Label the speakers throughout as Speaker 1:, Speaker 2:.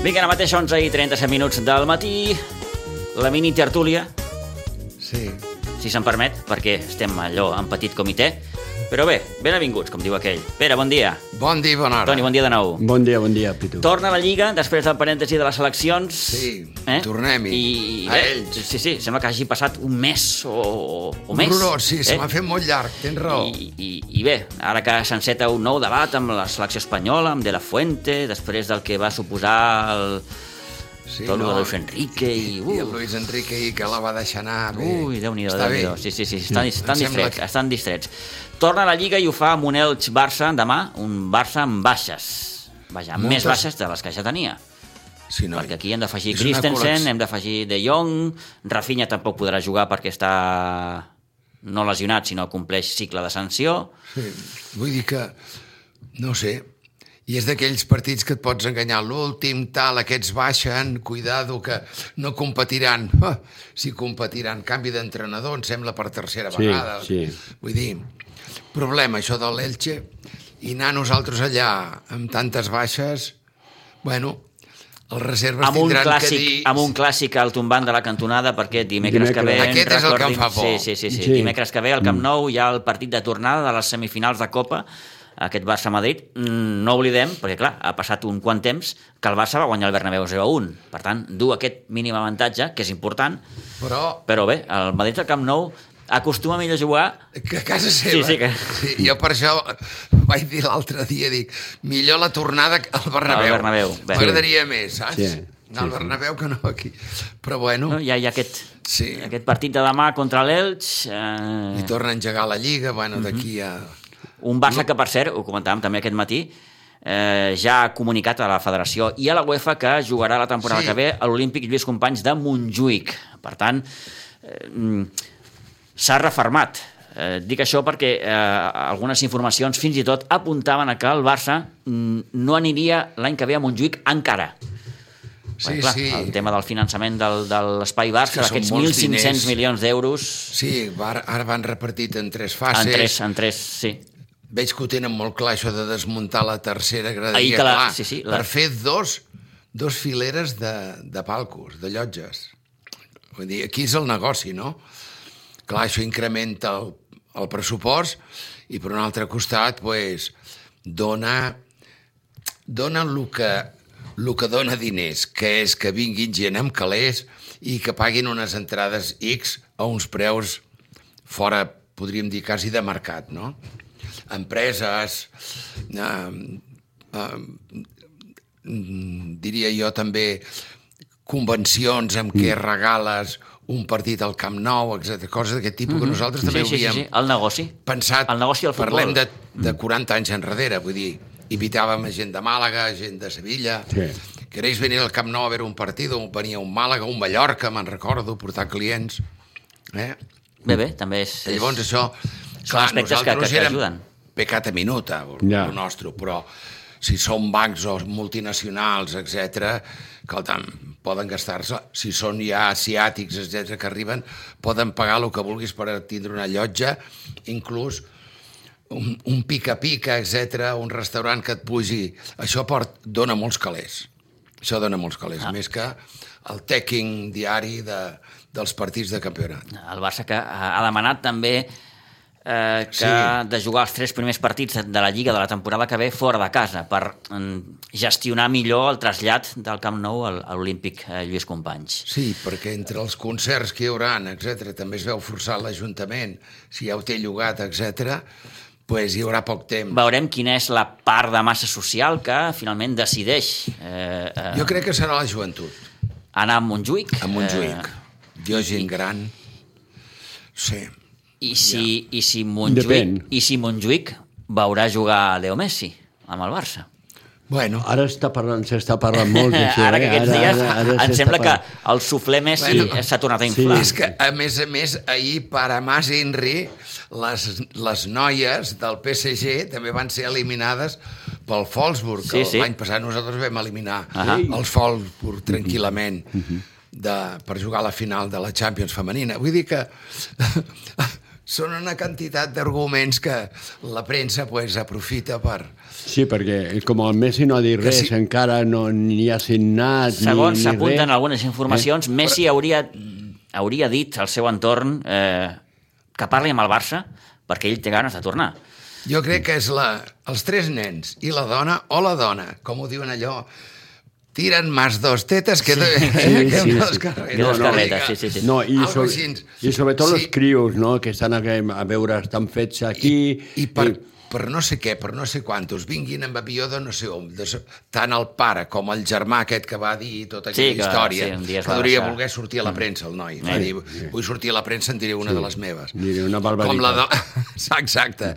Speaker 1: Vinga, ara mateix 11 i 37 minuts del matí, la mini tertúlia,
Speaker 2: Sí.
Speaker 1: si se'n permet, perquè estem allò en petit comitè. Però bé, benvinguts, com diu aquell. Pere, bon dia.
Speaker 2: Bon dia i bona hora.
Speaker 1: Toni, bon dia de nou.
Speaker 3: Bon dia, bon dia, Pitu.
Speaker 1: Torna a la Lliga, després del parèntesi de les seleccions. Eh?
Speaker 2: Sí, tornem-hi,
Speaker 1: I,
Speaker 2: a ells.
Speaker 1: Sí, sí, sembla que hagi passat un mes o, o, o més.
Speaker 2: Horrorós, sí, se m'ha fet molt llarg, tens raó. I...
Speaker 1: eh? I, i, I bé, ara que s'enceta un nou debat amb la selecció espanyola, amb De La Fuente, després del que va suposar el...
Speaker 2: Sí,
Speaker 1: tot lo de Luis Enrique i-
Speaker 2: I el
Speaker 1: uh.
Speaker 2: Luis Enrique i que la va deixar anar bé.
Speaker 1: Ui, Déu-n'hi-do,
Speaker 2: Està
Speaker 1: déu nhi
Speaker 2: bé.
Speaker 1: Sí, sí, sí, estan, estan
Speaker 2: Em sembla
Speaker 1: distrets,
Speaker 2: que-
Speaker 1: estan distrets. Torna a la Lliga i ho fa amb un Elx-Barça demà, un Barça amb baixes. Vaja, amb més
Speaker 2: Moltes-
Speaker 1: baixes de les que ja tenia.
Speaker 2: Sí,
Speaker 1: No,
Speaker 2: noi.
Speaker 1: perquè aquí hem d'afegir
Speaker 2: És una
Speaker 1: Christensen,
Speaker 2: col·lecció.
Speaker 1: hem d'afegir De Jong, Rafinha tampoc podrà jugar perquè està no lesionat, sinó compleix cicle de sanció.
Speaker 2: Sí. Eh, Vull dir que, no ho sé, i és d'aquells partits que et pots enganyar. L'últim, tal, aquests baixen, cuidado, que no competiran. Ah, si competiran, canvi d'entrenador, em sembla, per tercera
Speaker 3: Sí,
Speaker 2: vegada.
Speaker 3: sí.
Speaker 2: Vull dir, problema, això de l'Elche, i anar nosaltres allà amb tantes baixes, bueno, els reserves
Speaker 1: Amb un,
Speaker 2: tindran
Speaker 1: clàssic,
Speaker 2: que dir...
Speaker 1: amb un clàssic al tombant de la cantonada perquè dimecres,
Speaker 3: Dimecres.
Speaker 1: que ve... en
Speaker 2: Aquest és el que em fa por.
Speaker 1: Sí, sí, sí, sí.
Speaker 3: Sí. Mm.
Speaker 1: sí. Dimecres que ve al Camp Nou hi ha el partit de tornada de les semifinals de Copa aquest Barça-Madrid, Mm, no oblidem, perquè clar, ha passat un quant temps que el Barça va guanyar el Bernabéu 0-1. Per tant, du aquest mínim avantatge, que és important,
Speaker 2: Però
Speaker 1: però bé, el Madrid al Camp Nou acostuma millor a jugar
Speaker 2: que a casa seva.
Speaker 1: Sí, sí, que-
Speaker 2: sí, jo per això vaig dir l'altre dia, dic, millor la tornada que al Bernabéu.
Speaker 1: Al Bernabéu, bé.
Speaker 2: M'agradaria més, saps?
Speaker 3: Sí,
Speaker 2: Anar al
Speaker 3: sí, sí.
Speaker 2: Bernabéu que no aquí. Però bueno,
Speaker 1: No? Hi, ha, hi ha aquest,
Speaker 2: Sí.
Speaker 1: aquest partit de demà contra l'Elx. Eh,
Speaker 2: i torna a engegar la Lliga, bueno, d'aquí a...
Speaker 1: un Barça que, per cert, ho comentàvem també aquest matí, eh, ja ha comunicat a la federació i a la UEFA que jugarà la temporada
Speaker 2: Sí.
Speaker 1: que ve a l'Olímpic Lluís Companys de Montjuïc. Per tant, eh, mm, s'ha refermat. Eh, dic això perquè eh, algunes informacions fins i tot apuntaven a que el Barça mm, no aniria l'any que ve a Montjuïc encara.
Speaker 2: Sí,
Speaker 1: clar,
Speaker 2: sí,
Speaker 1: El tema del finançament del, de l'espai
Speaker 2: És
Speaker 1: Barça,
Speaker 2: que són
Speaker 1: d'aquests
Speaker 2: molts
Speaker 1: 1.500
Speaker 2: diners.
Speaker 1: milions d'euros...
Speaker 2: sí va, ara van repartit en tres
Speaker 1: En
Speaker 2: fases.
Speaker 1: tres, en tres, sí.
Speaker 2: Veig que ho tenen molt clar, això de desmuntar la tercera graderia,
Speaker 1: Ahir que la-
Speaker 2: clar,
Speaker 1: sí, sí, la-
Speaker 2: per fer dos, dos fileres de, de palcos, de llotges. Vull dir, aquí és el negoci, no? Clar, això incrementa el, el pressupost i per un altre costat, pues, dona, dona el que, el que dona diners, que és que vinguin gent amb calés i que paguin unes entrades X a uns preus fora, podríem dir, quasi de mercat, no? Empreses, eh, diria jo també convencions amb
Speaker 1: Mm.
Speaker 2: què regales un partit al Camp Nou, etc coses d'aquest tipus que nosaltres també
Speaker 1: Mm-hmm. Sí, sí, sí,
Speaker 2: hauríem
Speaker 1: sí, el negoci.
Speaker 2: pensat...
Speaker 1: El negoci del futbol.
Speaker 2: Parlem de, de 40 anys enrere, vull dir, invitàvem a gent de Màlaga, gent de Sevilla...
Speaker 3: Sí.
Speaker 2: Queréis venir al Camp Nou a veure un partit, on venia un Màlaga, un Mallorca, me'n recordo, portar clients... Eh?
Speaker 1: Bé, bé, també és... és-
Speaker 2: Llavors això...
Speaker 1: aspectes que- que-
Speaker 2: nosaltres
Speaker 1: que
Speaker 2: érem
Speaker 1: ajuden.
Speaker 2: Pecat a minuta,
Speaker 3: Ja.
Speaker 2: ja. el nostre, però si són bancs o multinacionals, etc, escolta'm, poden gastar-se, si són ja asiàtics, etc que arriben, poden pagar el que vulguis per tindre una llotja, inclús un, un pica-pica, etc, un restaurant que et pugi... Això port, dona molts calés. Això dona molts calés, ah. més que el taking diari de, dels partits de campionat.
Speaker 1: El Barça que ha ha demanat també eh, que
Speaker 2: Sí.
Speaker 1: de jugar els tres primers partits de- de la Lliga de la temporada que ve fora de casa per mm, gestionar millor el trasllat del Camp Nou al- a l'Olímpic eh, Lluís Companys.
Speaker 2: Sí, perquè entre els concerts que hi haurà, etc., també es veu forçat l'Ajuntament, si ja ho té llogat, etc., pues hi haurà poc temps. Va.
Speaker 1: Veurem quina és la part de massa social que finalment decideix eh, eh,
Speaker 2: Jo crec que serà la joventut,
Speaker 1: anar a Montjuïc.
Speaker 2: a Montjuïc. Eh... Jo, gent gran... Sí.
Speaker 1: I si, i si Montjuïc,
Speaker 3: Depèn.
Speaker 1: I si Montjuïc veurà jugar Leo Messi amb el Barça.
Speaker 2: Bueno,
Speaker 3: Ara està parlant, s'està parlant molt d'això,
Speaker 1: ara que
Speaker 3: eh?
Speaker 1: aquests dies em
Speaker 3: s'està
Speaker 1: sembla que
Speaker 3: parlant.
Speaker 1: el suflé Messi
Speaker 2: Bueno.
Speaker 1: s'ha tornat a
Speaker 3: Sí.
Speaker 1: inflar.
Speaker 2: és que, a més a més, ahir per a Mas Henry, les, les noies del PSG també van ser eliminades pel Wolfsburg.
Speaker 1: Sí,
Speaker 2: que
Speaker 1: sí.
Speaker 2: L'any passat nosaltres vam eliminar
Speaker 1: Ahà.
Speaker 2: els Wolfsburg tranquil·lament de, per jugar a la final de la Champions femenina. Vull dir que són una quantitat d'arguments que la premsa pues, aprofita per...
Speaker 3: Sí, perquè com el Messi no ha dit res,
Speaker 2: sí.
Speaker 3: encara no ni ha signat
Speaker 1: Segons
Speaker 3: ni, ni res.
Speaker 1: s'apunten
Speaker 2: eh,
Speaker 1: algunes informacions, Messi hauria, hauria dit al seu entorn eh, que parli amb el Barça perquè ell té ganes de tornar.
Speaker 2: Jo crec que és la, els tres nens i la dona, o la dona, com ho diuen allò, tiren más dos tetes que, sí,
Speaker 3: sí,
Speaker 2: que
Speaker 3: sí,
Speaker 2: dos
Speaker 3: sí.
Speaker 2: carretes.
Speaker 1: Que dos
Speaker 2: Vull dir
Speaker 1: carretes,
Speaker 2: que-
Speaker 1: sí, sí, sí.
Speaker 3: No, i,
Speaker 2: Algo
Speaker 3: sobre,
Speaker 2: així.
Speaker 3: i sobretot sí.
Speaker 2: Sí.
Speaker 3: els crios, no?, que estan a, a veure, estan fets aquí...
Speaker 2: I
Speaker 3: Eh,
Speaker 2: per, per no sé què, per no sé quantos, vinguin amb avió de no sé on, de, so- tant el pare com el germà aquest que va dir tota aquella
Speaker 1: Sí, que-
Speaker 2: història,
Speaker 1: sí, un dia es
Speaker 2: que
Speaker 1: va
Speaker 2: hauria
Speaker 1: deixar. Mm.
Speaker 2: voler sortir a la premsa, el noi. Va dir, vull sortir a la premsa, en diré una de les meves.
Speaker 3: diré una
Speaker 2: Com la
Speaker 3: barbaritat.
Speaker 2: do... Exacte.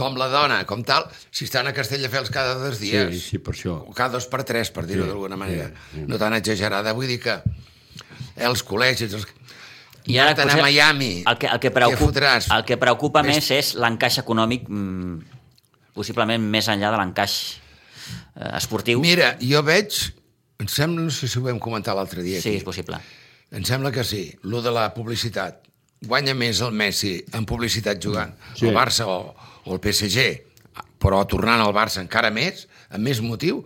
Speaker 2: Com la dona, com tal, si estan a Castelldefels cada dos dies,
Speaker 3: Sí, eh, sí, per això.
Speaker 2: o cada dos per tres, per dir-ho
Speaker 3: Sí,
Speaker 2: d'alguna
Speaker 3: sí,
Speaker 2: manera,
Speaker 3: sí.
Speaker 2: no tan exagerada, vull dir que els col·legis, els...
Speaker 1: I ara,
Speaker 2: anar
Speaker 1: potser,
Speaker 2: a Miami,
Speaker 1: El que, el que,
Speaker 2: què
Speaker 1: preocupa,
Speaker 2: fotràs?
Speaker 1: el que preocupa
Speaker 2: Més-
Speaker 1: més és l'encaix econòmic, mm, possiblement més enllà de l'encaix eh, esportiu.
Speaker 2: Mira, jo veig, em sembla, no sé si ho vam comentar l'altre dia
Speaker 1: Sí,
Speaker 2: aquí,
Speaker 1: és possible.
Speaker 2: em sembla que sí, lo de la publicitat. Guanya més el Messi en publicitat jugant
Speaker 3: Sí.
Speaker 2: sí. al Barça o, o el PSG, però tornant al Barça encara més, amb més motiu,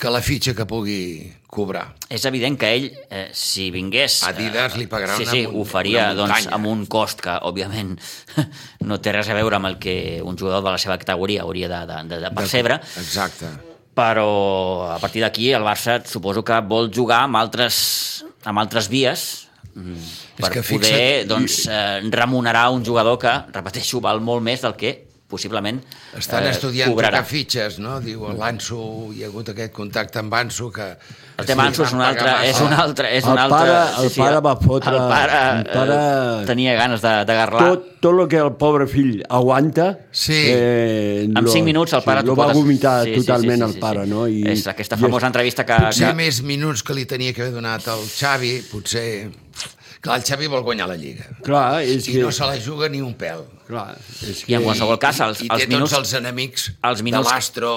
Speaker 2: que la fitxa que pugui cobrar.
Speaker 1: És evident que ell, eh, si vingués... eh,
Speaker 2: Adidas li pagarà
Speaker 1: sí,
Speaker 2: una
Speaker 1: sí,
Speaker 2: mun-
Speaker 1: ho faria
Speaker 2: una
Speaker 1: doncs,
Speaker 2: muntanya.
Speaker 1: amb un cost que, òbviament, no té res a veure amb el que un jugador de la seva categoria hauria de, de, de, de percebre,
Speaker 2: Exacte.
Speaker 1: però a partir d'aquí el Barça suposo que vol jugar amb altres, amb altres vies mm, per
Speaker 2: que
Speaker 1: poder
Speaker 2: fixa't-
Speaker 1: doncs, eh, remunerar un jugador que, repeteixo, val molt més del que possiblement
Speaker 2: Estan eh, estudiant
Speaker 1: cobrarà.
Speaker 2: tocar fitxes, no? Diu, a l'Anso, hi ha hagut aquest contacte amb Anso que...
Speaker 1: El tema Ansu és un
Speaker 2: van pagar
Speaker 1: altre, és
Speaker 2: massa.
Speaker 1: un altre, és
Speaker 3: El
Speaker 1: un altre...
Speaker 3: pare- el pare va fotre-
Speaker 1: El pare,
Speaker 3: el pare-
Speaker 1: eh, tenia ganes de, de garlar.
Speaker 3: Tot, tot el que el pobre fill aguanta...
Speaker 2: Sí.
Speaker 3: Eh,
Speaker 1: En 5 minuts el pare...
Speaker 3: Sí,
Speaker 1: t'ho
Speaker 3: lo va
Speaker 1: pot-
Speaker 3: vomitar totalment el pare, no?
Speaker 1: I, és aquesta famosa entrevista que...
Speaker 2: potser
Speaker 1: que...
Speaker 2: més minuts que li tenia que haver donat al Xavi, potser... Clar, el Xavi vol guanyar la Lliga.
Speaker 3: Clar, és
Speaker 2: I
Speaker 3: que...
Speaker 2: no se la juga ni un pèl.
Speaker 3: Clar, és
Speaker 1: I
Speaker 3: que...
Speaker 1: en qualsevol cas, els,
Speaker 2: I té
Speaker 1: els minuts...
Speaker 2: tots els enemics
Speaker 1: els minuts-
Speaker 2: de l'Astro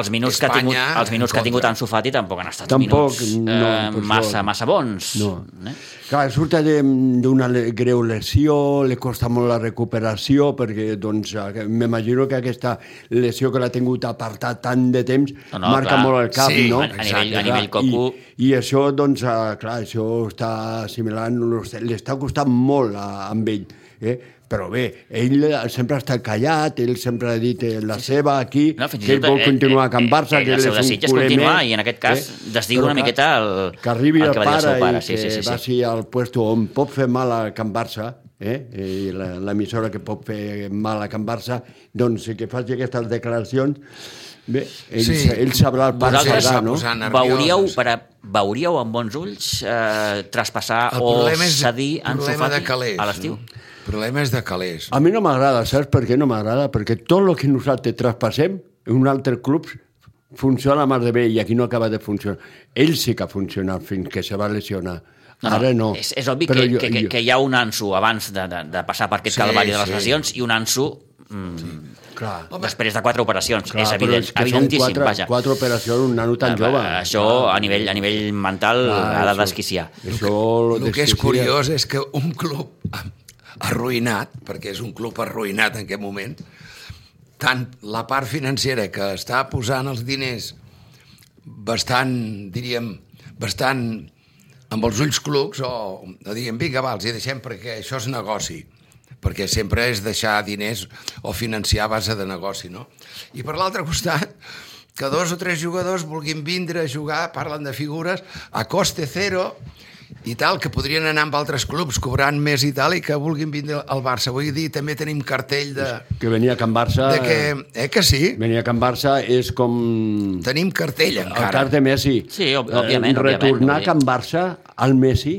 Speaker 1: els minuts que ha tingut, els minuts que ha tingut Ansu Fati tampoc han estat
Speaker 3: Tampoc,
Speaker 1: minuts eh,
Speaker 3: no, per
Speaker 1: massa,
Speaker 3: sort.
Speaker 1: massa bons.
Speaker 3: No.
Speaker 1: Eh?
Speaker 3: Clar, surt de- d'una le- greu lesió, li costa molt la recuperació, perquè doncs, eh, m'imagino que aquesta lesió que l'ha tingut apartat tant de temps
Speaker 1: No,
Speaker 3: no,
Speaker 1: no,
Speaker 3: no, marca
Speaker 1: clar.
Speaker 3: molt el cap,
Speaker 2: Sí,
Speaker 3: no?
Speaker 1: a- a nivell- a
Speaker 3: Clar,
Speaker 1: nivell coco.
Speaker 3: I, I això, doncs, eh, clar, això està assimilant, no sé, li està costant molt a, amb ell. Eh? Però bé, ell sempre ha estat callat, ell sempre ha dit eh, la seva aquí,
Speaker 1: No, fins i
Speaker 3: que ell
Speaker 1: tot,
Speaker 3: vol
Speaker 1: eh,
Speaker 3: continuar a Can
Speaker 1: eh,
Speaker 3: Barça,
Speaker 1: eh,
Speaker 3: que
Speaker 1: el
Speaker 3: ell és
Speaker 1: seu
Speaker 3: un
Speaker 1: desig és
Speaker 3: culer
Speaker 1: continuar,
Speaker 3: més, eh?
Speaker 1: i en aquest cas desdiu
Speaker 3: Però
Speaker 1: una
Speaker 3: clar,
Speaker 1: miqueta el-
Speaker 3: que arribi
Speaker 1: el
Speaker 3: el,
Speaker 1: que va dir el seu
Speaker 3: pare,
Speaker 1: pare,
Speaker 3: i
Speaker 1: sí,
Speaker 3: que
Speaker 1: sí, sí, sí.
Speaker 3: va sí, al puesto on pot fer mal a Can Barça, eh? i la- l'emissora que pot fer mal a Can Barça, doncs que faci aquestes declaracions, bé, ell,
Speaker 2: Sí.
Speaker 3: sí. ell sabrà el pas
Speaker 1: Vosaltres-
Speaker 3: sabrà, no?
Speaker 2: S'ha posat nerviós,
Speaker 1: Veuríeu,
Speaker 2: no sé.
Speaker 1: per a, veuríeu amb bons ulls eh, traspassar
Speaker 2: El
Speaker 1: o
Speaker 2: problema és
Speaker 1: cedir
Speaker 2: el
Speaker 1: Oh, Ansu
Speaker 2: problema de
Speaker 1: Fati
Speaker 2: calés.
Speaker 1: a l'estiu?
Speaker 2: No? El problema és de calés.
Speaker 3: A mi no m'agrada, saps per què no m'agrada? Perquè tot el que nosaltres traspassem en un altre club funciona mar de bé i aquí no acaba de funcionar. Ell sí que ha funcionat fins que se va lesionar. No, Ara no.
Speaker 1: És, és obvi que,
Speaker 3: Però
Speaker 1: que, que, que hi ha un Ansu abans de, de, de passar per aquest
Speaker 2: Sí,
Speaker 1: calvari de les
Speaker 2: sí.
Speaker 1: lesions i un Ansu mm,
Speaker 3: Clar,
Speaker 1: després de quatre operacions.
Speaker 3: clar,
Speaker 1: és
Speaker 3: però
Speaker 1: evident,
Speaker 3: que són
Speaker 1: evidentíssim,
Speaker 3: quatre,
Speaker 1: vaja.
Speaker 3: Quatre operacions, un nano tan
Speaker 1: Eh,
Speaker 3: jove.
Speaker 1: Això a nivell, a nivell mental
Speaker 3: Clar,
Speaker 1: ha de
Speaker 3: això-
Speaker 1: desquiciar.
Speaker 3: Això
Speaker 2: El que és
Speaker 3: desquicia.
Speaker 2: curiós és que un club arruïnat, perquè és un club arruïnat en aquest moment, tant la part financera que està posant els diners bastant, diríem, bastant amb els ulls clucs o, o diguem, vinga, va, els hi deixem perquè això és negoci perquè sempre és deixar diners o financiar a base de negoci, no? I per l'altre costat, que dos o tres jugadors vulguin vindre a jugar, parlen de figures, a coste zero i tal, que podrien anar amb altres clubs cobrant més i tal, i que vulguin vindre al Barça. Vull dir, també tenim cartell de,
Speaker 3: Que venia a Can Barça...
Speaker 2: de que... Eh que sí?
Speaker 3: Venia a Can Barça és com...
Speaker 2: Tenim cartell
Speaker 3: El
Speaker 2: encara.
Speaker 3: cas de Messi.
Speaker 1: Sí, ob- òbviament,
Speaker 3: Eh,
Speaker 1: òbviament,
Speaker 3: Retornar
Speaker 1: vull
Speaker 3: a
Speaker 1: dir.
Speaker 3: Can Barça al Messi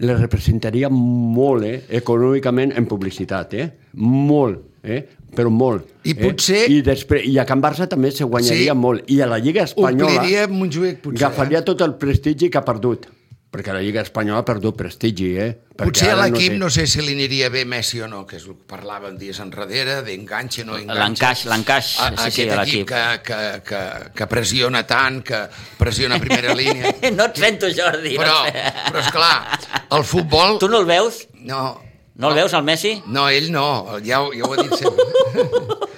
Speaker 3: le representaria molt, eh? econòmicament, en publicitat, eh? Molt, eh? però molt.
Speaker 2: I
Speaker 3: eh?
Speaker 2: potser-
Speaker 3: I, després, I a Can Barça també se guanyaria
Speaker 2: Sí.
Speaker 3: molt. I a la Lliga Espanyola...
Speaker 2: Ompliria Montjuïc, potser. eh?
Speaker 3: Agafaria tot el prestigi que ha perdut. Perquè la Lliga Espanyola ha perdut prestigi, eh? Perquè
Speaker 2: Potser a
Speaker 3: ara
Speaker 2: l'equip
Speaker 3: té-
Speaker 2: no, sé si li aniria bé Messi o no, que és el que parlàvem dies enrere, d'enganxe, no enganxe.
Speaker 1: L'encaix, l'encaix,
Speaker 2: A,
Speaker 1: sí, sí,
Speaker 2: aquest
Speaker 1: de l'equip.
Speaker 2: equip que, que, que, que pressiona tant, que pressiona a primera línia.
Speaker 1: No et sento, Jordi.
Speaker 2: Però,
Speaker 1: no et sento.
Speaker 2: però és clar, el futbol...
Speaker 1: Tu no el veus?
Speaker 2: No,
Speaker 1: No el veus, el Messi?
Speaker 2: No, ell no, ja, ho- ja ho he dit sempre.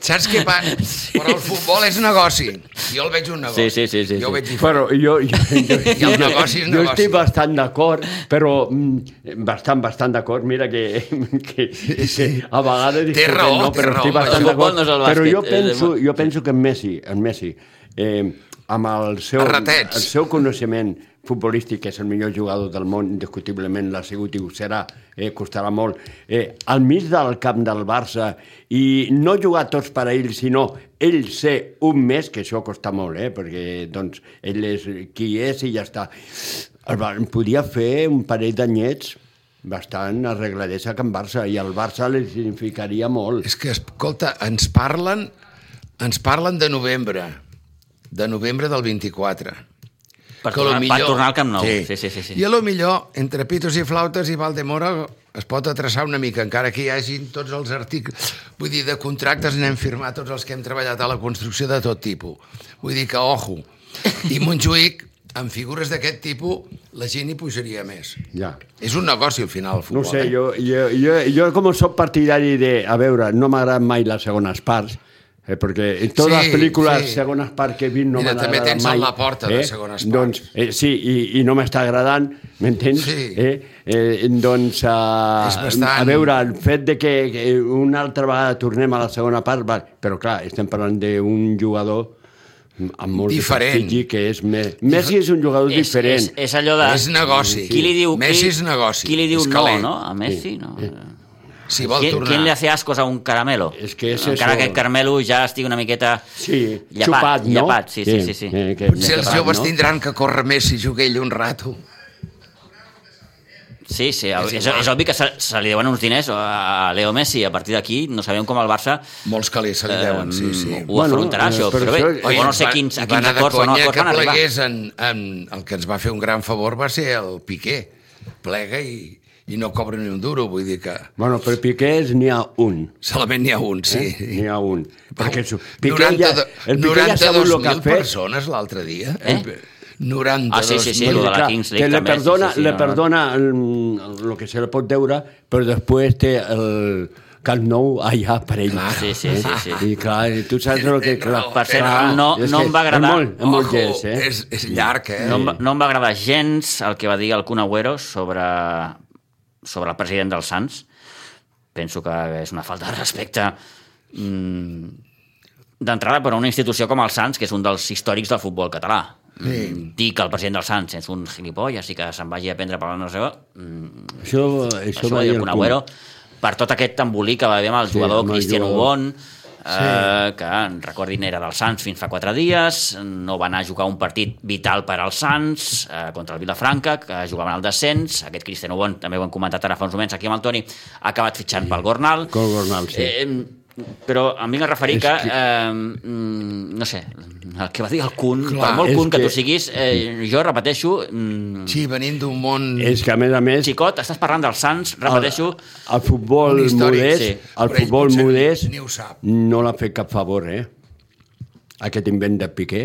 Speaker 2: Saps què passa? Sí. Però el futbol és negoci. Jo el veig un negoci.
Speaker 1: Sí, sí, sí, sí,
Speaker 2: jo ho
Speaker 1: sí.
Speaker 2: veig diferent.
Speaker 3: Però jo, jo, jo,
Speaker 2: I el negoci és
Speaker 3: jo
Speaker 2: negoci.
Speaker 3: estic bastant d'acord, però mm, bastant, bastant d'acord. Mira que, que, que a
Speaker 2: Té
Speaker 3: vegades... discutim,
Speaker 2: raó,
Speaker 3: no,
Speaker 2: té
Speaker 3: però
Speaker 2: raó.
Speaker 3: estic
Speaker 1: El
Speaker 3: bastant
Speaker 1: futbol
Speaker 3: d'acord.
Speaker 1: no és el
Speaker 3: però jo
Speaker 1: bàsquet, eh, és-
Speaker 3: penso, jo penso que en Messi, en Messi eh, amb el seu,
Speaker 2: A ratets.
Speaker 3: el seu coneixement futbolístic, que és el millor jugador del món, indiscutiblement l'ha sigut i ho serà, eh, costarà molt, eh, al mig del camp del Barça, i no jugar tots per a ell, sinó ell ser un més, que això costa molt, eh, perquè doncs, ell és qui és i ja està. El Bar- podia fer un parell d'anyets bastant arregladets a Can Barça, i al Barça li significaria molt.
Speaker 2: És que, escolta, ens parlen, ens parlen de novembre, de novembre del 24.
Speaker 1: Per
Speaker 2: Que a lo
Speaker 1: tornar, per tornar al Camp Nou. Sí, sí, sí. sí,
Speaker 2: I
Speaker 1: sí.
Speaker 2: a lo millor, entre pitos i flautes i Valdemora es pot atreçar una mica, encara que hi hagin tots els articles... Vull dir, de contractes n'hem firmat tots els que hem treballat a la construcció de tot tipus. Vull dir que, ojo, i Montjuïc, amb figures d'aquest tipus, la gent hi pujaria més.
Speaker 3: Ja.
Speaker 2: És un negoci, al final, el
Speaker 3: No
Speaker 2: futbol.
Speaker 3: ho sé,
Speaker 2: eh?
Speaker 3: jo, jo, jo, jo com soc partidari de... A veure, no m'agraden mai les segones parts, eh, perquè totes
Speaker 2: Sí,
Speaker 3: les pel·lícules
Speaker 2: sí.
Speaker 3: sí. segones parts que he vist no
Speaker 2: Mira,
Speaker 3: m'han
Speaker 2: també
Speaker 3: agradat
Speaker 2: tens
Speaker 3: mai.
Speaker 2: el La Porta de segones parts.
Speaker 3: Doncs, eh, sí, i, i no m'està agradant, m'entens?
Speaker 2: Sí.
Speaker 3: Eh, eh, doncs,
Speaker 2: És
Speaker 3: eh,
Speaker 2: bastant-
Speaker 3: a veure, el fet de que eh, una altra vegada tornem a la segona part, va, però clar, estem parlant d'un jugador amb molt
Speaker 2: Diferent.
Speaker 3: de prestigi, que és Me Messi és un jugador
Speaker 1: És,
Speaker 3: diferent.
Speaker 1: és, és allò de...
Speaker 2: És negoci.
Speaker 1: Qui li diu,
Speaker 2: Messi
Speaker 1: qui,
Speaker 2: és negoci.
Speaker 1: Qui li diu
Speaker 2: És
Speaker 1: no,
Speaker 2: calent.
Speaker 1: no? A Messi, no.
Speaker 2: Si vol
Speaker 1: Qui,
Speaker 2: tornar...
Speaker 1: qui li hace ascos a un caramelo?
Speaker 3: És que és
Speaker 1: Encara
Speaker 3: això.
Speaker 1: que Carmelo ja estigui una miqueta...
Speaker 3: Sí,
Speaker 1: Llepat,
Speaker 3: xupat, no? eh,
Speaker 1: llepat, sí, sí, sí, sí.
Speaker 3: que-
Speaker 2: Potser els
Speaker 3: llepat,
Speaker 2: joves
Speaker 3: no?
Speaker 2: tindran que córrer més si jugui ell un rato.
Speaker 1: Sí, sí, és, és,
Speaker 2: igual.
Speaker 1: és obvi que se, se li deuen uns diners a Leo Messi. A partir d'aquí no sabem com el Barça mm,
Speaker 2: Molts
Speaker 1: Eh,
Speaker 2: calés se li deuen, sí, sí.
Speaker 1: ho afrontarà,
Speaker 3: eh,
Speaker 1: això.
Speaker 3: per
Speaker 1: Però bé,
Speaker 3: això-
Speaker 1: o no sé quins, a quins acords o no acords van arribar.
Speaker 2: Que en, en, el que ens va fer un gran favor va ser el Piqué. Plega i, i no cobra ni un duro, vull dir que
Speaker 3: Bueno, per Piqués n'hi ha un.
Speaker 2: solament n'hi ha un, sí.
Speaker 1: Eh?
Speaker 3: N'hi ha un. Perquè su- Piqué ja,
Speaker 2: 92
Speaker 3: el Piqué ja sap el que
Speaker 2: 92.000
Speaker 3: ha fet.
Speaker 2: persones l'altre dia.
Speaker 1: Eh?
Speaker 2: 92.000.
Speaker 1: Ah, sí, sí, sí, lo de
Speaker 3: Perquè,
Speaker 1: la
Speaker 3: clar,
Speaker 1: Kings League
Speaker 3: que le
Speaker 1: també, sí,
Speaker 3: perdona,
Speaker 1: sí, sí,
Speaker 3: le
Speaker 1: no, no.
Speaker 3: perdona el, el que se le pot deure, però després té el Camp Nou allà per ell.
Speaker 2: Clar.
Speaker 1: Sí, sí, sí, sí.
Speaker 3: I clar, tu saps el que...
Speaker 2: Tens
Speaker 3: Clar,
Speaker 2: raó,
Speaker 1: Per cert,
Speaker 3: clar,
Speaker 1: no,
Speaker 3: és
Speaker 1: no
Speaker 3: que
Speaker 1: em va agradar...
Speaker 3: És molt, és molt gens, eh?
Speaker 2: És, és llarg, eh?
Speaker 1: No em, va, no em va agradar gens el que va dir el Kun Agüero sobre, sobre el president dels Sants. Penso que és una falta de respecte mm, d'entrada per a una institució com el Sants, que és un dels històrics del futbol català. Mm. Dir que el president del Sants és un gilipolles i que se'n vagi a prendre per la no sé
Speaker 3: Això, això,
Speaker 1: això
Speaker 3: va
Speaker 1: va dir el
Speaker 3: Kun.
Speaker 1: Kun Agüero, per tot aquest embolic que va haver amb el
Speaker 3: Sí,
Speaker 1: jugador
Speaker 3: amb el
Speaker 1: Cristian
Speaker 3: jugador.
Speaker 1: Ubon, eh, que en recordin era del Sants fins fa quatre dies, no va anar a jugar un partit vital per als Sants eh, contra el Vilafranca, que jugaven al descens, aquest Cristian Ubon, també ho hem comentat ara fa uns moments aquí amb el Toni, ha acabat fitxant pel Gornal.
Speaker 3: Pel Gornal, sí.
Speaker 1: Eh, però em vinc a referir que, eh, mm, no sé, el que va dir el Kun,
Speaker 2: Clar,
Speaker 1: per molt
Speaker 3: és
Speaker 1: Kun que,
Speaker 3: que-
Speaker 1: tu siguis, eh, jo repeteixo, mm,
Speaker 2: Sí, venint d'un món...
Speaker 3: És que, a més a més,
Speaker 1: xicot, estàs parlant dels Sants, repeteixo,
Speaker 3: El, el futbol
Speaker 2: Un històric,
Speaker 3: modest,
Speaker 1: sí.
Speaker 3: sí. el
Speaker 2: Però ell
Speaker 3: futbol
Speaker 2: potser
Speaker 3: modest
Speaker 2: ni ho sap.
Speaker 3: no l'ha fet cap favor, eh? Aquest invent de Piqué.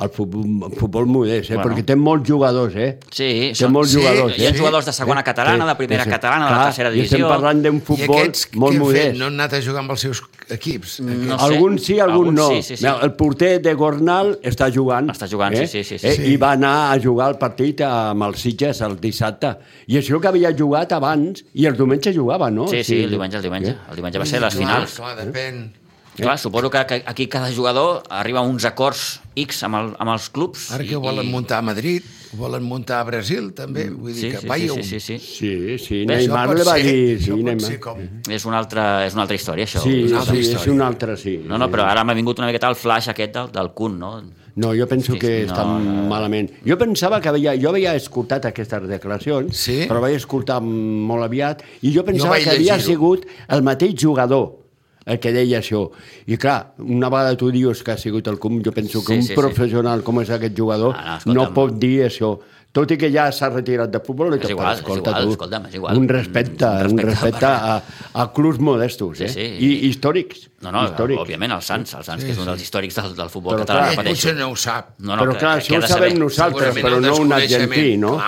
Speaker 3: El futbol, el futbol modest,
Speaker 1: Bueno.
Speaker 3: eh? Bueno. Perquè té molts jugadors, eh?
Speaker 1: Sí,
Speaker 3: té
Speaker 1: són-
Speaker 3: molts
Speaker 1: sí,
Speaker 3: jugadors,
Speaker 1: hi ha
Speaker 3: eh?
Speaker 1: jugadors de segona catalana, de primera catalana, de la tercera
Speaker 3: I estem
Speaker 1: divisió.
Speaker 3: parlant d'un
Speaker 2: I
Speaker 3: futbol
Speaker 2: aquests
Speaker 3: molt
Speaker 2: què han
Speaker 3: modest.
Speaker 2: fet? No han anat a jugar amb els seus equips?
Speaker 1: No sé.
Speaker 3: Algun sí, algun,
Speaker 1: Algun
Speaker 3: no.
Speaker 1: sí, sí, sí.
Speaker 3: El porter de Gornal està jugant.
Speaker 1: Està jugant,
Speaker 3: eh?
Speaker 1: sí, sí, sí, sí.
Speaker 3: Eh?
Speaker 1: Sí.
Speaker 3: I va anar a jugar el partit amb els Sitges el dissabte. I això que havia jugat abans, i el diumenge jugava, no?
Speaker 1: Sí, sí, el diumenge, el
Speaker 3: Eh?
Speaker 1: diumenge. El diumenge va ser les
Speaker 2: Clar,
Speaker 1: finals.
Speaker 2: Clar, depèn.
Speaker 1: Clar, suposo que que aquí cada jugador arriba a uns acords X amb, el, amb els clubs.
Speaker 2: Ara
Speaker 1: i- Mm.
Speaker 2: que ho volen muntar a Madrid, ho volen muntar a Brasil, també. Vull dir
Speaker 1: Sí,
Speaker 2: que
Speaker 1: sí,
Speaker 2: vaya
Speaker 1: sí,
Speaker 2: un...
Speaker 1: sí, sí, sí.
Speaker 3: Sí, sí,
Speaker 1: Bé,
Speaker 3: Neymar
Speaker 2: pot
Speaker 3: li va
Speaker 2: ser,
Speaker 3: dir...
Speaker 2: això
Speaker 3: Sí, eh?
Speaker 2: pot
Speaker 3: Neymar.
Speaker 2: ser com-
Speaker 1: És una altra, és una altra història, això.
Speaker 3: Sí,
Speaker 2: una altra
Speaker 3: sí, és
Speaker 2: història.
Speaker 3: un altre, sí.
Speaker 1: No, no, però ara m'ha vingut una miqueta el flash aquest del, del Kun, no?
Speaker 3: No, jo penso
Speaker 1: Sí,
Speaker 3: que
Speaker 1: sí,
Speaker 3: està
Speaker 1: no, no.
Speaker 3: malament. Jo pensava que havia... Jo havia escoltat aquestes declaracions,
Speaker 2: Sí?
Speaker 3: però vaig escoltar molt aviat, i jo pensava
Speaker 2: vaig
Speaker 3: que havia
Speaker 2: llegir-ho.
Speaker 3: sigut el mateix jugador el que deia això. I clar, una vegada tu dius que ha sigut el com, jo penso
Speaker 1: Sí,
Speaker 3: que un
Speaker 1: sí, sí.
Speaker 3: professional com és aquest jugador
Speaker 1: Ah, no,
Speaker 3: no,
Speaker 1: escolta'm.
Speaker 3: pot dir això. Tot i que ja s'ha retirat de futbol...
Speaker 1: És igual, és igual, escolta'm, és igual.
Speaker 3: Un respecte,
Speaker 1: Mm,
Speaker 3: un respecte a, a clubs modestos,
Speaker 1: Sí,
Speaker 3: eh?
Speaker 1: sí.
Speaker 3: I, històrics.
Speaker 1: No, no,
Speaker 3: històrics.
Speaker 1: òbviament, el Sants, el Sants, que és un dels històrics del, del futbol
Speaker 3: Però
Speaker 1: català,
Speaker 3: clar,
Speaker 2: Ell
Speaker 1: repeteixo.
Speaker 2: potser no ho sap.
Speaker 1: No, no,
Speaker 3: però
Speaker 1: que-
Speaker 3: clar,
Speaker 1: que- que
Speaker 3: això
Speaker 1: ha
Speaker 3: ho
Speaker 1: de
Speaker 3: sabem
Speaker 1: saber.
Speaker 3: nosaltres,
Speaker 2: Segurament
Speaker 3: però
Speaker 2: el
Speaker 3: no un
Speaker 2: desconeixement,
Speaker 3: argentí, no? eh?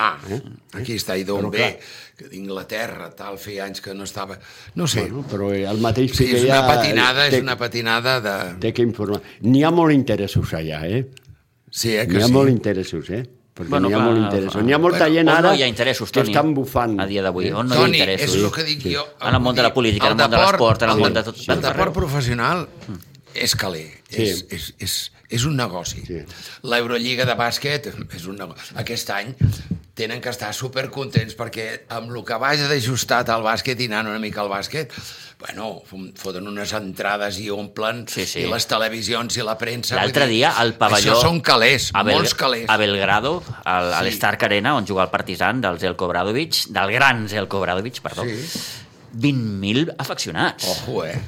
Speaker 2: Clar, aquí està, i d'on ve? Que D'Inglaterra, tal, feia anys que no estava... No sé,
Speaker 3: No, però el mateix
Speaker 2: sí, és
Speaker 3: que
Speaker 2: una
Speaker 3: ja
Speaker 2: patinada,
Speaker 3: té,
Speaker 2: és una patinada de...
Speaker 3: Té que informar. N'hi ha molt interessos allà, eh?
Speaker 2: Sí, eh,
Speaker 3: N'hi
Speaker 2: que
Speaker 3: ha
Speaker 2: sí.
Speaker 3: molt interessos, eh? Perquè
Speaker 1: Bueno,
Speaker 3: n'hi ha
Speaker 1: clar,
Speaker 3: molt interessos.
Speaker 1: clar.
Speaker 3: N'hi ha molta
Speaker 2: Però
Speaker 3: gent
Speaker 1: on
Speaker 3: ara
Speaker 1: no hi ha interessos,
Speaker 3: que
Speaker 1: Toni,
Speaker 3: estan bufant. eh?
Speaker 1: a dia d'avui? On no hi ha
Speaker 2: Toni,
Speaker 1: interessos?
Speaker 2: és el que dic jo.
Speaker 1: En el món de la política, en el món de
Speaker 2: deport,
Speaker 1: l'esport, en el Mm. món de tot-
Speaker 2: El
Speaker 1: tot arreu.
Speaker 2: deport professional és caler,
Speaker 3: Sí.
Speaker 2: és, és, és, és un negoci.
Speaker 3: Sí.
Speaker 2: L'Eurolliga de bàsquet és un negoci. Aquest any tenen que estar supercontents perquè amb el que vaja d'ajustat al bàsquet i anant una mica al bàsquet, bueno, fom- foten unes entrades i omplen,
Speaker 1: Sí, sí.
Speaker 2: i les televisions i la premsa...
Speaker 1: L'altre
Speaker 2: vull dir,
Speaker 1: dia, al pavelló...
Speaker 2: Això són calés,
Speaker 1: a Bel-
Speaker 2: molts calés.
Speaker 1: A Belgrado, al, a
Speaker 2: Sí.
Speaker 1: l'Stark Arena, on juga el Partizan del Zelko Bradovic, del gran Zelko Bradovic, perdó,
Speaker 2: Sí.
Speaker 1: 20.000 afeccionats.
Speaker 2: Ojo, eh?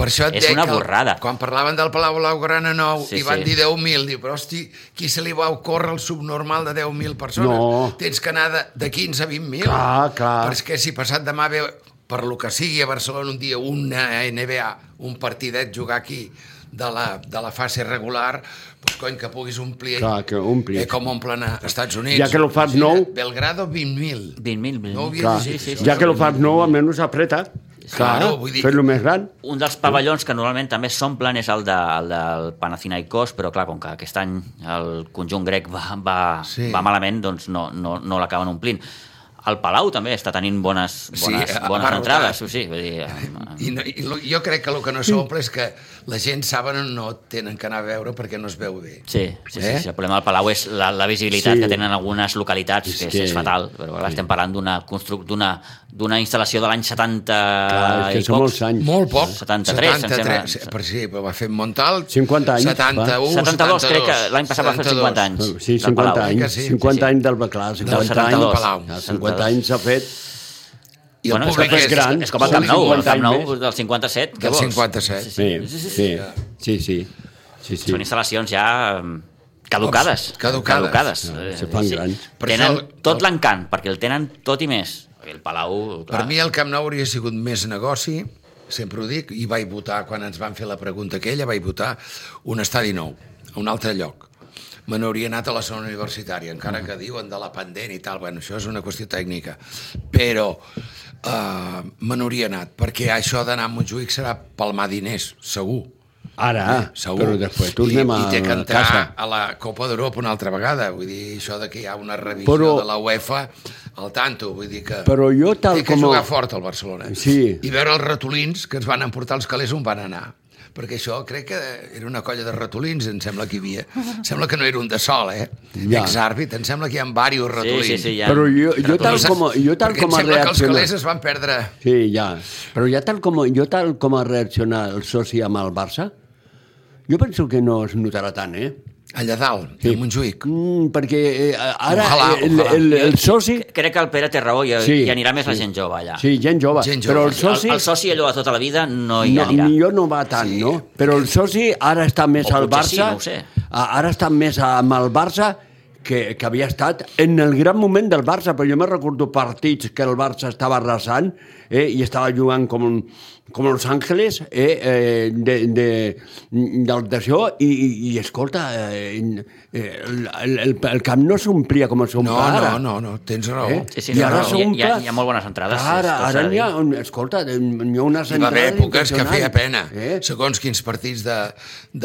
Speaker 2: Per això et
Speaker 1: És
Speaker 2: dec
Speaker 1: una
Speaker 2: que
Speaker 1: borrada.
Speaker 2: quan parlaven del Palau Blaugrana Nou
Speaker 1: Sí,
Speaker 2: i van
Speaker 1: sí.
Speaker 2: dir 10.000, diu, però hosti, qui se li va ocórrer el subnormal de 10.000 persones?
Speaker 3: No.
Speaker 2: Tens que anar de, de 15 a 20.000.
Speaker 3: Clar, clar.
Speaker 2: Perquè si passat demà ve, per lo que sigui, a Barcelona un dia una NBA, un partidet jugar aquí de la, de la fase regular, doncs cony, que puguis omplir...
Speaker 3: Clar, que omplis.
Speaker 2: Eh, com omplen a Estats Units.
Speaker 3: Ja que lo fas
Speaker 2: Imagina't,
Speaker 3: nou-
Speaker 2: Belgrado 20.000.
Speaker 1: 20.000.
Speaker 2: No ho havia
Speaker 3: Clar,
Speaker 2: Sí, sí, sí.
Speaker 3: ja que lo fas nou, almenys apreta. Clar,
Speaker 2: Claro, vull dir-
Speaker 3: fer-lo més gran.
Speaker 1: Un dels pavellons que normalment també s'omplen és el, de, el del Panathinaikos, però clar, com que aquest any el conjunt grec va, va, sí.
Speaker 2: Sí.
Speaker 1: va malament, doncs no, no, no l'acaben omplint. El Palau també està tenint bones,
Speaker 2: Sí,
Speaker 1: bones,
Speaker 2: ha- ha
Speaker 1: bones
Speaker 2: barrotat.
Speaker 1: entrades. Sí, sí, vull dir, eh,
Speaker 2: I, no, i lo, jo crec que el que no s'omple és que la gent saben on no tenen que anar a veure perquè no es veu bé.
Speaker 1: sí, sí, sí,
Speaker 2: Eh?
Speaker 1: sí, el problema del Palau és la, la visibilitat
Speaker 3: Sí.
Speaker 1: sí. que tenen algunes localitats,
Speaker 3: És
Speaker 1: que és,
Speaker 3: que-
Speaker 1: és fatal, però clar, estem parlant d'una constru- d'una d'una instal·lació de l'any 70
Speaker 3: Clar, Ah, és que
Speaker 1: Ah, i
Speaker 3: són
Speaker 1: pocs.
Speaker 3: molts anys.
Speaker 2: Molt poc.
Speaker 1: 73, em sembla.
Speaker 2: sí, Per sí, però va fer Montal.
Speaker 3: 50 anys,
Speaker 2: 71,
Speaker 1: 72, Uh, crec que l'any passat va fer 50 anys.
Speaker 3: Sí,
Speaker 1: del Palau. eh?
Speaker 3: 50 anys.
Speaker 2: Sí, sí.
Speaker 3: 50 anys del Baclar, 50
Speaker 1: 72.
Speaker 3: anys.
Speaker 2: Palau.
Speaker 3: Ja, 50 anys s'ha fet...
Speaker 2: I el
Speaker 1: Bueno,
Speaker 2: bueno,
Speaker 1: és
Speaker 2: públic
Speaker 1: que
Speaker 2: és,
Speaker 1: és
Speaker 3: gran.
Speaker 1: És com el Camp Nou, eh? el
Speaker 3: 50
Speaker 1: Camp
Speaker 3: anys
Speaker 1: Nou
Speaker 3: més.
Speaker 1: del 57. què
Speaker 2: del
Speaker 1: vols?
Speaker 2: 57.
Speaker 3: Sí, sí, sí, sí. sí, sí.
Speaker 1: Són instal·lacions ja mm, caducades.
Speaker 2: Caducades.
Speaker 1: caducades.
Speaker 3: No,
Speaker 1: Eh,
Speaker 3: Ah, se fan grans.
Speaker 2: Per
Speaker 1: Tenen
Speaker 2: això el-
Speaker 1: tot l'encant, perquè el tenen tot i més. El Palau,
Speaker 2: Per
Speaker 1: clar...
Speaker 2: mi el Camp Nou hauria sigut més negoci, sempre ho dic, i vaig votar, quan ens van fer la pregunta aquella, vaig votar un estadi nou, a un altre lloc. Me n'hauria anat a la zona universitària, encara que diuen de la pendent i tal, bueno, això és una qüestió tècnica, però eh, me n'hauria anat, perquè això d'anar a Montjuïc serà palmar diners, segur.
Speaker 3: Ara,
Speaker 2: Segur.
Speaker 3: però després tornem
Speaker 2: I,
Speaker 3: a,
Speaker 2: I té que
Speaker 3: a
Speaker 2: entrar
Speaker 3: casa.
Speaker 2: a la Copa d'Europa una altra vegada. Vull dir, això de que hi ha una revisió
Speaker 3: Però-
Speaker 2: de la UEFA al tanto. Vull dir que...
Speaker 3: Però jo tal
Speaker 2: té que
Speaker 3: com-
Speaker 2: jugar fort al Barcelona.
Speaker 3: Sí.
Speaker 2: I veure els ratolins que ens van emportar els calés on van anar. Perquè això crec que era una colla de ratolins, em sembla que hi havia. Em sembla que no era un de sol, eh?
Speaker 3: Ja.
Speaker 2: Ja. Exàrbit, em sembla que hi ha diversos
Speaker 1: Sí,
Speaker 2: ratolins.
Speaker 1: sí, sí, ja.
Speaker 3: Però jo, jo tal
Speaker 1: Ratolins.
Speaker 3: com, jo tal
Speaker 2: Perquè
Speaker 3: com ha
Speaker 2: em sembla que els
Speaker 3: reaccionat...
Speaker 2: calés es van perdre...
Speaker 3: Sí, ja. Però ja tal com, jo tal com ha reaccionat el soci amb el Barça, jo penso que no es notarà tant, eh?
Speaker 2: Allà dalt, sí. a Montjuïc.
Speaker 3: Mm, perquè eh, ara
Speaker 2: Ojalà,
Speaker 3: el,
Speaker 2: ojalà.
Speaker 3: el, el soci...
Speaker 1: Crec que el Pere té raó i, sí,
Speaker 3: Sí,
Speaker 1: i anirà més la
Speaker 3: sí.
Speaker 1: gent jove allà.
Speaker 3: Sí, gent jove.
Speaker 2: Gent
Speaker 3: Però
Speaker 2: jove,
Speaker 3: el
Speaker 2: sí.
Speaker 1: El,
Speaker 3: soci...
Speaker 1: el soci allò de tota la vida no hi
Speaker 3: No,
Speaker 1: anirà.
Speaker 3: millor no va tant, sí. no? Però el soci ara està més
Speaker 1: O
Speaker 3: al
Speaker 1: potser sí,
Speaker 3: Barça...
Speaker 1: no ho sé.
Speaker 3: a- Ara està més amb el Barça que, que havia estat en el gran moment del Barça, però jo me recordo partits que el Barça estava arrasant eh, i estava jugant com, un, com Los Angeles eh, eh, de, de, del d'això i, i, i escolta eh, eh, el, el, el camp no s'omplia com s'omple
Speaker 2: No,
Speaker 3: ara
Speaker 2: no, no, no, tens raó.
Speaker 3: eh?
Speaker 1: Sí, sí,
Speaker 3: I
Speaker 1: no,
Speaker 3: ara
Speaker 1: no, hi ha-
Speaker 3: s'omple...
Speaker 1: hi ha- hi ha molt bones entrades, sí,
Speaker 3: Ara,
Speaker 1: tot s'ha
Speaker 3: ara
Speaker 1: de
Speaker 3: n'hi ha...
Speaker 1: dir.
Speaker 3: un- Escolta, eh, n'hi ha unes entrades...
Speaker 2: Hi va haver èpoques que feia pena. Eh?
Speaker 3: Eh?
Speaker 2: Segons quins partits de,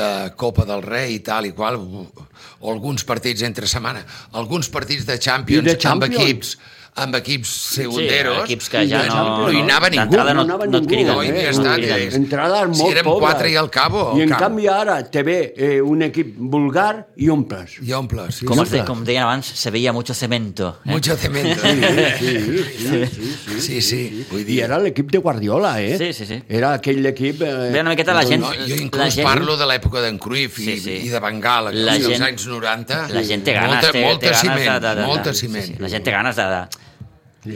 Speaker 2: de Copa del Rei i tal i qual, o alguns partits entre setmana, alguns partits de Champions,
Speaker 3: I de Champions.
Speaker 2: amb equips amb equips segunderos.
Speaker 1: equips que ja
Speaker 2: i
Speaker 1: no-
Speaker 2: No hi anava ningú.
Speaker 1: d'entrada no- no et criden,
Speaker 2: No, i
Speaker 1: eh?
Speaker 2: ja
Speaker 1: No
Speaker 2: està.
Speaker 1: et
Speaker 2: Ja
Speaker 1: criden.
Speaker 2: és.
Speaker 3: Entrades molt
Speaker 2: si érem
Speaker 3: pobres.
Speaker 2: quatre i al cabo.
Speaker 3: I en
Speaker 2: cap.
Speaker 3: canvi ara te ve eh, un equip vulgar i omples.
Speaker 2: I omple, sí.
Speaker 1: Com,
Speaker 2: sí.
Speaker 1: es de, com deien abans, se veia mucho cemento. Eh?
Speaker 2: Mucho cemento.
Speaker 3: Sí, sí, sí, sí, sí,
Speaker 2: Sí, sí. Vull
Speaker 3: I
Speaker 2: dir,
Speaker 3: era l'equip de Guardiola, eh?
Speaker 1: Sí, sí, sí.
Speaker 3: Era aquell equip... Eh,
Speaker 1: Ve una miqueta la gent...
Speaker 2: No, jo
Speaker 1: la
Speaker 2: inclús
Speaker 1: gent,
Speaker 2: parlo de l'època d'en Cruyff i,
Speaker 1: Sí, sí.
Speaker 2: i de Bengala,
Speaker 1: La
Speaker 2: la gent,
Speaker 1: gent-
Speaker 2: dels anys 90.
Speaker 1: La gent té ganes,
Speaker 2: molta,
Speaker 1: té,
Speaker 2: molta
Speaker 1: té ganes
Speaker 2: ciment,
Speaker 1: de, de, de,
Speaker 2: molta
Speaker 1: sí,
Speaker 2: ciment.
Speaker 1: Sí, la gent té ganes de, de,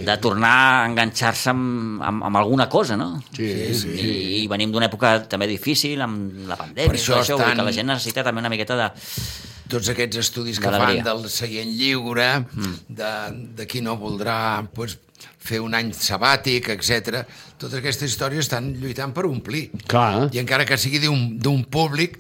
Speaker 1: de tornar a enganxar-se amb, amb, amb alguna cosa, no?
Speaker 3: Sí, sí.
Speaker 1: I, i venim d'una època també difícil, amb la pandèmia,
Speaker 2: Per això
Speaker 1: tot això, vull dir
Speaker 2: estan-
Speaker 1: que la gent necessita també una miqueta de...
Speaker 2: tots aquests estudis que fan
Speaker 1: D'alegria.
Speaker 2: del seient lliure,
Speaker 1: Mm.
Speaker 2: de, de qui no voldrà pues, fer un any sabàtic, etc. Totes aquestes històries estan lluitant per omplir.
Speaker 3: Clar.
Speaker 2: I encara que sigui d'un d'un públic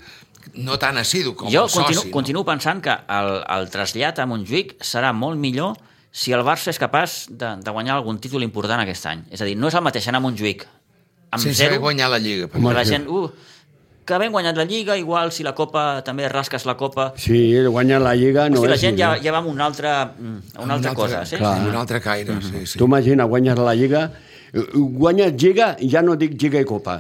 Speaker 2: no tan assidu com
Speaker 1: Jo
Speaker 2: el soci.
Speaker 1: continuo, continuo pensant que el, el trasllat a Montjuïc serà molt millor si el Barça és capaç de, de guanyar algun títol important aquest any. És a dir, no és el mateix anar a Montjuïc
Speaker 2: No?
Speaker 1: amb
Speaker 2: Sense haver
Speaker 1: zero,
Speaker 2: guanyar la Lliga. Per
Speaker 1: que
Speaker 3: Home,
Speaker 1: la
Speaker 3: sí.
Speaker 1: gent... Uh, que ben guanyat la Lliga, igual si la Copa també rasques la Copa...
Speaker 3: Sí, guanyar la Lliga no
Speaker 1: No si la
Speaker 3: és...
Speaker 1: gent ja,
Speaker 3: millor.
Speaker 1: ja va amb una altra, mm, a una altra cosa, sí?
Speaker 3: Clar.
Speaker 2: Un altre caire, sí, sí.
Speaker 3: Tu imagina, guanyes la Lliga, eh, guanyes Lliga, ja no dic Lliga i Copa.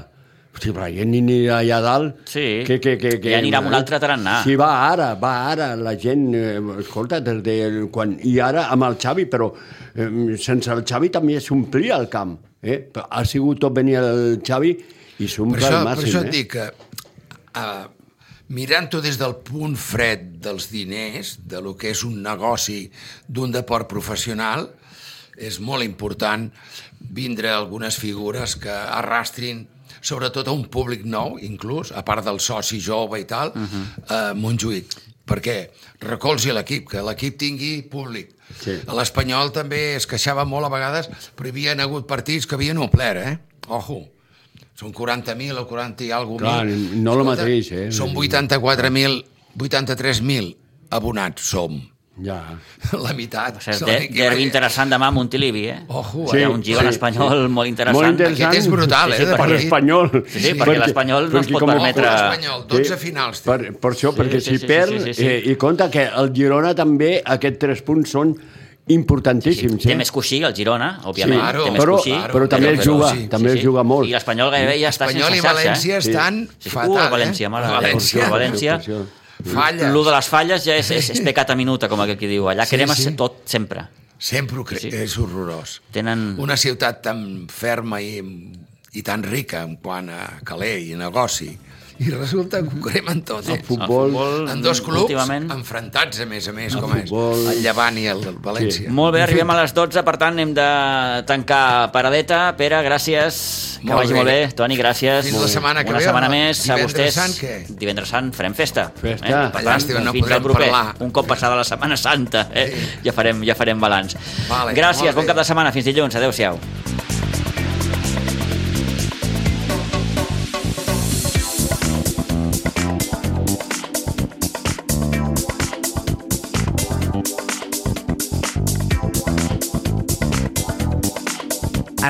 Speaker 3: Hosti, però la gent ni anirà allà dalt...
Speaker 1: Sí,
Speaker 3: que, que, que, que,
Speaker 1: ja anirà amb un altre tarannà.
Speaker 3: Sí, va ara, va ara, la gent... Eh, escolta, des de quan... I ara amb el Xavi, però eh, sense el Xavi també s'omplia el camp. Eh? Però Ha sigut tot venir el Xavi i
Speaker 2: per
Speaker 3: s'omple
Speaker 2: això,
Speaker 3: el
Speaker 2: per
Speaker 3: màxim.
Speaker 2: això et
Speaker 3: eh?
Speaker 2: dic que uh, mirant-ho des del punt fred dels diners, de lo que és un negoci d'un deport professional, és molt important vindre algunes figures que arrastrin sobretot a un públic nou, inclús, a part del soci jove i tal, uh
Speaker 3: Mhm.
Speaker 2: -huh. a Montjuïc. Perquè recolzi l'equip, que l'equip tingui públic.
Speaker 3: Sí.
Speaker 2: A L'Espanyol també es queixava molt a vegades, però hi havia hagut partits que havien omplert, eh? Ojo. Són 40.000 o 40 i alguna
Speaker 3: Clar,
Speaker 2: mil.
Speaker 3: no lo
Speaker 2: Escolta,
Speaker 3: mateix, eh?
Speaker 2: Són 84.000, 83.000 abonats som.
Speaker 3: Ja.
Speaker 2: La meitat.
Speaker 1: O sigui,
Speaker 2: són
Speaker 1: de,
Speaker 2: aquí.
Speaker 1: derbi interessant demà a Montilivi, eh?
Speaker 3: Oh,
Speaker 2: Ojo,
Speaker 1: sí,
Speaker 2: eh?
Speaker 1: hi ha un giro sí,
Speaker 3: sí.
Speaker 1: espanyol molt interessant.
Speaker 3: Molt interessant.
Speaker 2: Aquest és brutal,
Speaker 1: Sí,
Speaker 2: eh?
Speaker 1: sí,
Speaker 2: de
Speaker 3: Per
Speaker 2: partit.
Speaker 3: l'Espanyol.
Speaker 1: Sí, sí, perquè l'Espanyol no es
Speaker 3: perquè
Speaker 1: pot
Speaker 3: com-
Speaker 2: Ojo,
Speaker 1: permetre...
Speaker 2: l'Espanyol, 12
Speaker 3: Sí,
Speaker 2: finals. té.
Speaker 3: Per, per això, sí, perquè si sí, perd... Sí, sí, sí. Eh, I compte que el Girona també, aquests tres punts són importantíssims.
Speaker 1: Té
Speaker 3: eh?
Speaker 1: més coixí el Girona, òbviament.
Speaker 2: Claro,
Speaker 1: té més
Speaker 3: però-
Speaker 1: coixí,
Speaker 3: però també
Speaker 2: el juga,
Speaker 3: també el juga molt.
Speaker 1: I l'Espanyol gairebé ja està
Speaker 2: Espanyol i
Speaker 1: sense xarxa.
Speaker 2: València
Speaker 1: eh?
Speaker 2: estan
Speaker 1: Sí, sí.
Speaker 2: fatal,
Speaker 1: Uh, el València, mare
Speaker 2: eh?
Speaker 1: de Déu,
Speaker 2: València.
Speaker 1: el València.
Speaker 3: Això, això.
Speaker 2: Falles.
Speaker 1: Lo de les falles ja és, és, és pecat a minuta, com aquell qui diu. Allà
Speaker 2: Sí,
Speaker 1: cremes
Speaker 2: sí.
Speaker 1: tot, sempre.
Speaker 2: Sempre ho crec,
Speaker 1: Sí, Mm.
Speaker 2: sí,
Speaker 1: sí.
Speaker 2: és horrorós.
Speaker 1: Tenen...
Speaker 2: Una ciutat tan ferma i, i tan rica en quant a caler i negoci, i resulta que ho cremen tot.
Speaker 3: El
Speaker 2: ells.
Speaker 3: Ah, futbol...
Speaker 2: En dos clubs
Speaker 1: últimament.
Speaker 2: enfrontats, a més a més,
Speaker 3: El
Speaker 2: com
Speaker 3: futbol.
Speaker 2: és el Llevant i el València. Sí.
Speaker 1: Molt bé, arribem a les 12, per tant hem de tancar paradeta. Pere, gràcies, que
Speaker 2: Molt
Speaker 1: vagi
Speaker 2: bé.
Speaker 1: molt bé. Toni, gràcies.
Speaker 2: Fins la setmana que
Speaker 1: Una
Speaker 2: ve,
Speaker 1: setmana
Speaker 2: home.
Speaker 1: més, a
Speaker 2: Divendres
Speaker 1: vostès.
Speaker 2: Sant, què?
Speaker 1: Divendres Sant farem festa. Eh?
Speaker 3: Festa.
Speaker 1: Per tant,
Speaker 2: Llàstima, no
Speaker 1: fins
Speaker 2: podrem
Speaker 1: al proper,
Speaker 2: parlar.
Speaker 1: un cop passada la Setmana Santa, eh? ja, farem, ja farem balanç.
Speaker 2: Vale,
Speaker 1: gràcies,
Speaker 2: molt
Speaker 1: bon
Speaker 2: bé.
Speaker 1: cap de setmana, fins dilluns, adeu-siau.
Speaker 4: A